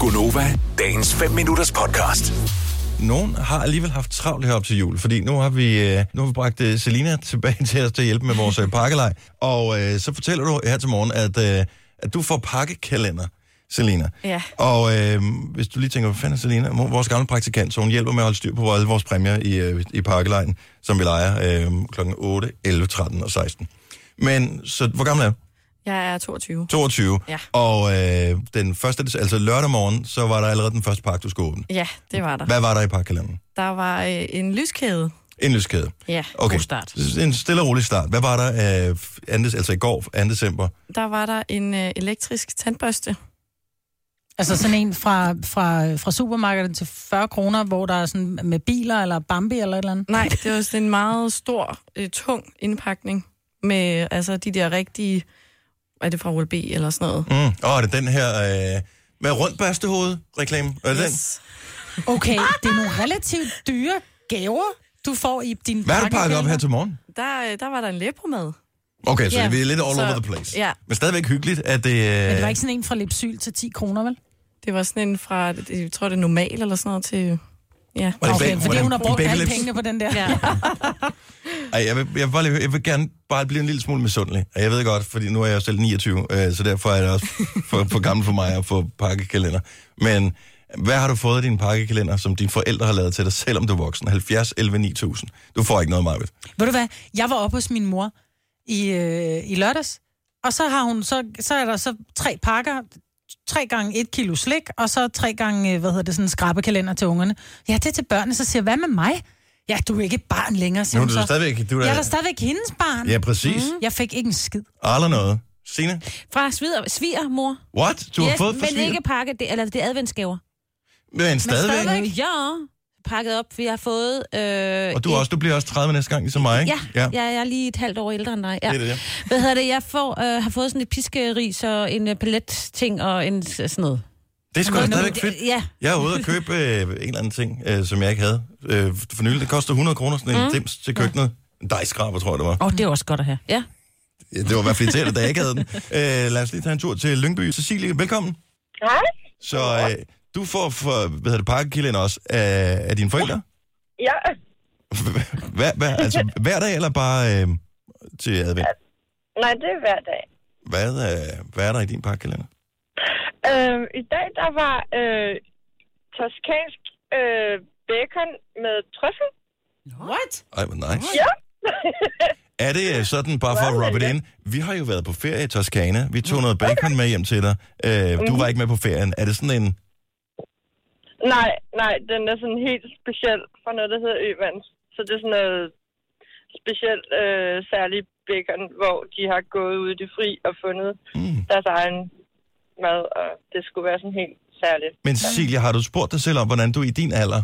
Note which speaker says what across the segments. Speaker 1: Gunova, dagens 5 minutters podcast.
Speaker 2: nogen har alligevel haft travlt herop til jul, fordi nu har vi, øh, nu har vi bragt øh, Selina tilbage til os til at hjælpe med vores øh, pakkelej. Og øh, så fortæller du her til morgen, at, øh, at du får pakkekalender, Selina.
Speaker 3: Ja.
Speaker 2: Og øh, hvis du lige tænker, hvad fanden er Selina? Mo- Vores gamle praktikant, så hun hjælper med at holde styr på alle vores præmier i, øh, i pakkelejen, som vi leger øh, kl. 8, 11, 13 og 16. Men, så hvor gammel er du?
Speaker 3: Jeg er 22.
Speaker 2: 22.
Speaker 3: Ja.
Speaker 2: Og øh, den første, altså lørdag morgen, så var der allerede den første pakke, du skulle åbne.
Speaker 3: Ja, det var der.
Speaker 2: Hvad var der i pakkekalenderen?
Speaker 3: Der var øh, en lyskæde.
Speaker 2: En lyskæde.
Speaker 3: Ja.
Speaker 2: Okay.
Speaker 4: God start.
Speaker 2: En stille og rolig start. Hvad var der øh, andet, altså i går, 2. december?
Speaker 3: Der var der en øh, elektrisk tandbørste.
Speaker 4: Altså sådan en fra, fra, fra supermarkedet til 40 kroner, hvor der er sådan med biler eller Bambi eller et eller andet.
Speaker 3: Nej, det var sådan en meget stor, øh, tung indpakning med altså de der rigtige... Er det fra OLB eller sådan noget?
Speaker 2: Åh, mm. oh, det er den her øh, med rundt børstehoved reklame. Er det den?
Speaker 4: Okay, det er nogle relativt dyre gaver, du får i din
Speaker 2: Hvad har du pakket op her
Speaker 4: pakkekalender.
Speaker 2: til morgen?
Speaker 3: Der, øh, der var der en læbromad.
Speaker 2: Okay, så
Speaker 4: Ja,
Speaker 2: vi er lidt all
Speaker 3: så-
Speaker 2: over the place.
Speaker 3: ja.
Speaker 2: Men stadigvæk hyggeligt, at det...
Speaker 4: Men det
Speaker 2: Øh,
Speaker 4: var ikke sådan en fra Lipsyl til 10 kroner, vel?
Speaker 3: Det var sådan en fra, det- jeg tror det er normal eller sådan noget til... Ja.
Speaker 2: var det
Speaker 4: Okay,
Speaker 2: bag-
Speaker 4: fordi
Speaker 2: var
Speaker 4: hun har
Speaker 2: det
Speaker 4: brugt
Speaker 2: Baby
Speaker 4: alle
Speaker 2: Lips?
Speaker 4: pengene på den der.
Speaker 3: Ja.
Speaker 2: Ej, jeg, vil, jeg, vil bare, lige- jeg vil gerne bare blive en lille smule misundelig. Og jeg ved godt, fordi nu er jeg jo selv 29, øh, så derfor er det også for, for gammel for mig at få pakkekalender. Men hvad har du fået i din pakkekalender, som dine forældre har lavet til dig, selvom du er voksen? 70, 11, 9000. Du får ikke noget, Marvitt.
Speaker 4: Ved du hvad? Jeg var oppe hos min mor i, øh, i lørdags, og så har hun så, så er der så tre pakker, tre gange et kilo slik, og så tre gange, øh, hvad hedder det, sådan en skrabbekalender til ungerne. Ja, det er til børnene, så siger jeg, hvad med mig? Ja, du er ikke et barn længere, siger
Speaker 2: Nu er
Speaker 4: hun
Speaker 2: du
Speaker 4: så.
Speaker 2: stadigvæk... Du er,
Speaker 4: Jeg er da
Speaker 2: der,
Speaker 4: stadigvæk hendes barn. Mm.
Speaker 2: ja, præcis.
Speaker 4: Jeg fik ikke en skid.
Speaker 2: Aldrig noget. Signe?
Speaker 5: Fra sviger, sviger mor.
Speaker 2: What? Du yes, har fået for
Speaker 5: men
Speaker 2: svin-
Speaker 5: ikke pakke, det, eller det er adventsgaver.
Speaker 2: Men stadigvæk.
Speaker 5: Øh, Ja, pakket op, vi har fået... Øh,
Speaker 2: Og du, er også, du bliver også 30 næste gang, ligesom mig, ikke?
Speaker 5: Ja, ja. ja, jeg er lige et halvt år ældre end dig. Ja.
Speaker 2: Det er det, ja.
Speaker 5: Hvad hedder det? Jeg får, øh, har fået sådan et piskeris og en øh, paletting og en s- sådan noget.
Speaker 2: Det er sgu da
Speaker 5: Nå,
Speaker 2: stadigvæk
Speaker 5: det-
Speaker 2: fedt.
Speaker 5: Ja,
Speaker 2: Jeg er ude og købe øh, en eller anden ting, øh, som jeg ikke havde øh, for nylig. Det koster 100 kroner, sådan en mm. dims til køkkenet. En dejskraber, tror jeg, det var.
Speaker 5: og oh, det er også godt at have. Ja.
Speaker 2: Ja, Det var i hvert fald irriterende, da jeg ikke havde den. Øh, lad os lige tage en tur til Lyngby. Cecilie, velkommen.
Speaker 6: Hej.
Speaker 2: Så øh, du får for, hvad hedder det, pakkekilden også af, af dine forældre?
Speaker 6: Ja,
Speaker 2: Hva, hva, altså hver dag, eller bare øh, til advent?
Speaker 6: nej, det er hver dag.
Speaker 2: Hvad, øh, hvad er der i din pakkekalender?
Speaker 6: Øh, I dag, der var øh, toskansk øh, bacon med trøffel.
Speaker 3: What?
Speaker 2: Ej, hvor nice.
Speaker 6: Ja.
Speaker 2: Er det øh, sådan, bare for at rub it in, vi har jo været på ferie i Toskana, vi tog noget bacon med hjem til dig, øh,
Speaker 6: Mhm.
Speaker 2: du var ikke med på ferien. Er det sådan en,
Speaker 6: nej, nej, den er sådan helt speciel for noget, der hedder Øvands. Så det er sådan noget specielt øh, særlig bacon, hvor de har gået ud i det fri og fundet
Speaker 2: Mm.
Speaker 6: mm. deres egen mad, og det skulle være sådan helt særligt.
Speaker 2: men Cecilia, har du spurgt dig selv om, hvordan du i din alder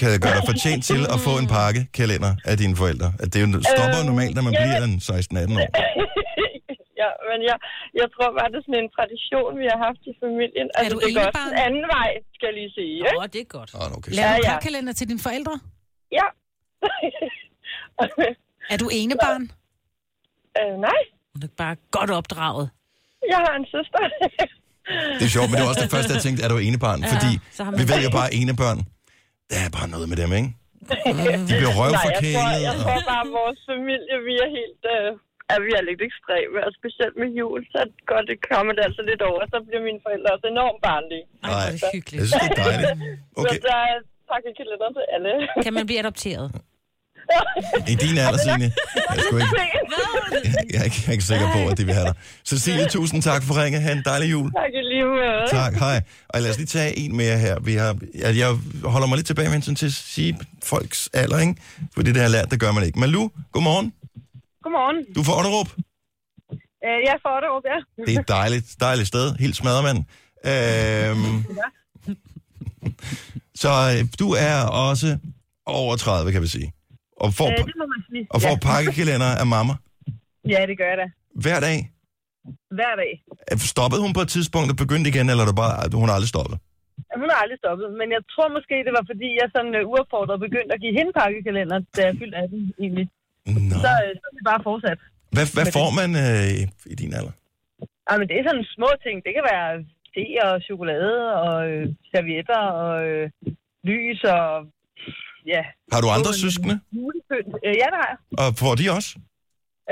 Speaker 2: kan gøre dig fortjent til at få en pakkekalender af dine forældre? At det jo stopper jo
Speaker 6: Øhm,
Speaker 2: normalt, når man
Speaker 6: ja.
Speaker 2: bliver en 16-18 år.
Speaker 6: ja, men jeg, jeg tror bare, det er sådan en tradition, vi har haft i familien. Altså,
Speaker 4: du
Speaker 6: det går også
Speaker 4: enebarn?
Speaker 6: den anden vej, skal jeg lige sige.
Speaker 5: Åh, oh, det er godt.
Speaker 2: Oh, okay.
Speaker 4: Laver
Speaker 6: Ja,
Speaker 4: ja, du
Speaker 6: ja.
Speaker 4: pakkalender til dine forældre?
Speaker 6: Ja.
Speaker 4: Er du enebarn?
Speaker 6: øh, nej,
Speaker 5: Hun er bare godt opdraget.
Speaker 6: jeg har en søster.
Speaker 2: Det er sjovt, men det var også det første, jeg tænkte, er du enebarn?
Speaker 5: Ja,
Speaker 2: Fordi
Speaker 5: så har man-
Speaker 2: vi ved jo bare, at enebørn, der er bare noget med dem, ikke? De bliver
Speaker 6: nej, jeg tror,
Speaker 2: røvforkælet.
Speaker 6: jeg
Speaker 2: og-
Speaker 6: tror bare, at vores familie, vi er helt... Øh, er vi er lidt ekstreme, og specielt med jul, så går det kommer det altså lidt over. Så bliver mine forældre også enormt barnlige.
Speaker 5: Ej, hvor er det
Speaker 2: Jeg
Speaker 5: hyggeligt.
Speaker 2: synes, det er dejligt.
Speaker 6: Okay.
Speaker 2: Okay,
Speaker 6: Så der er pakket kalender til alle.
Speaker 5: Kan man blive adopteret?
Speaker 2: i din alder, Signe. Jeg er sgu ikke, jeg er ikke, jeg er ikke sikker på, at det vil have dig. Cecilie, tusind tak for ringe. Ha' en dejlig jul.
Speaker 6: tak i lige måde.
Speaker 2: Tak, hej. Og lad os lige tage en mere her. Vi har, jeg, jeg holder mig lidt tilbage med hensyn til at sige folks alder, ikke? For det, der har lært, det gør man ikke. Malu, godmorgen.
Speaker 6: Godmorgen.
Speaker 2: Du får Otterup.
Speaker 6: Øh, jeg får det op, ja.
Speaker 2: Det er et dejligt, dejligt sted. Helt smadret, mand. Øhm, så øh, du er også over 30, kan vi sige. Og får,
Speaker 6: Øh,
Speaker 2: pa-
Speaker 6: det må man sige.
Speaker 2: og
Speaker 6: Ja.
Speaker 2: får pakkekalender af mamma
Speaker 6: ja, det gør jeg da.
Speaker 2: hver dag.
Speaker 6: Hver dag.
Speaker 2: Er- Stoppede hun på et tidspunkt og begyndte igen, eller er det bare, at hun har aldrig stoppet?
Speaker 6: Hun har aldrig stoppet, men jeg tror måske, det var fordi, jeg sådan øh, uopfordret begyndte at give hende pakkekalender, da jeg fyldte 18 egentlig.
Speaker 2: Nå.
Speaker 6: Så, øh, så er det bare fortsat.
Speaker 2: Hvad, hvad får man øh, i din alder?
Speaker 6: Ej, men det er sådan små ting. Det kan være te og chokolade og øh, servietter og øh, lys og ja,
Speaker 2: Har du andre søskende?
Speaker 6: julepynt. Øh, ja, det har jeg.
Speaker 2: Og får de også?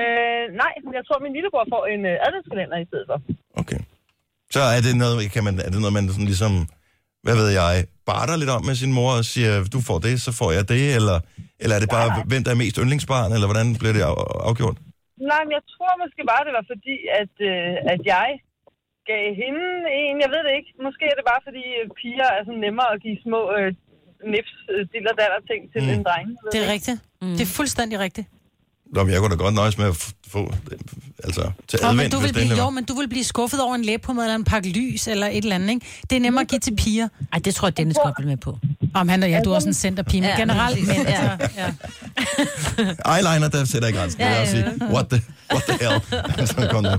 Speaker 6: Øh, nej, men jeg tror, min lillebror får en øh, adventskalender i stedet for.
Speaker 2: Okay. Så er det noget, kan man, er det noget, man sådan ligesom, hvad ved jeg, barter lidt om med sin mor og siger, du får det, så får jeg det, eller, eller er det bare, hvem der er mest yndlingsbarn, eller hvordan bliver det af- afgjort?
Speaker 6: Nej, men jeg tror måske bare, det var fordi, at, øh, at jeg gav hende en. Jeg ved det ikke. Måske er det bare, fordi øh, piger er sådan nemmere at give små øh, nips, øh, diller ting til
Speaker 2: Mm.
Speaker 6: mm. en dreng. Jeg ved
Speaker 4: Det er rigtigt. Mm. Det er fuldstændig rigtigt.
Speaker 2: Nå, men jeg kunne da godt nøjes med at f- få, øh, altså, til
Speaker 4: Og, men
Speaker 2: advendt,
Speaker 4: du
Speaker 2: hvis
Speaker 4: vil
Speaker 2: det
Speaker 4: blive,
Speaker 2: endelig var.
Speaker 4: jo, men du vil blive skuffet over en læbepomade eller en pakke lys eller et eller andet, ikke? Det er nemmere at give til piger.
Speaker 5: Ej, det tror jeg, Dennis godt vil med på.
Speaker 4: Om han og ja, du er også en centerpige, men
Speaker 5: Ja,
Speaker 4: generelt. Men,
Speaker 5: præcis. Ja.
Speaker 4: altså, ja.
Speaker 2: Eyeliner, der sætter jeg grænsen. Ja, ja, ja. Sige, what, the, what the hell? så kom der.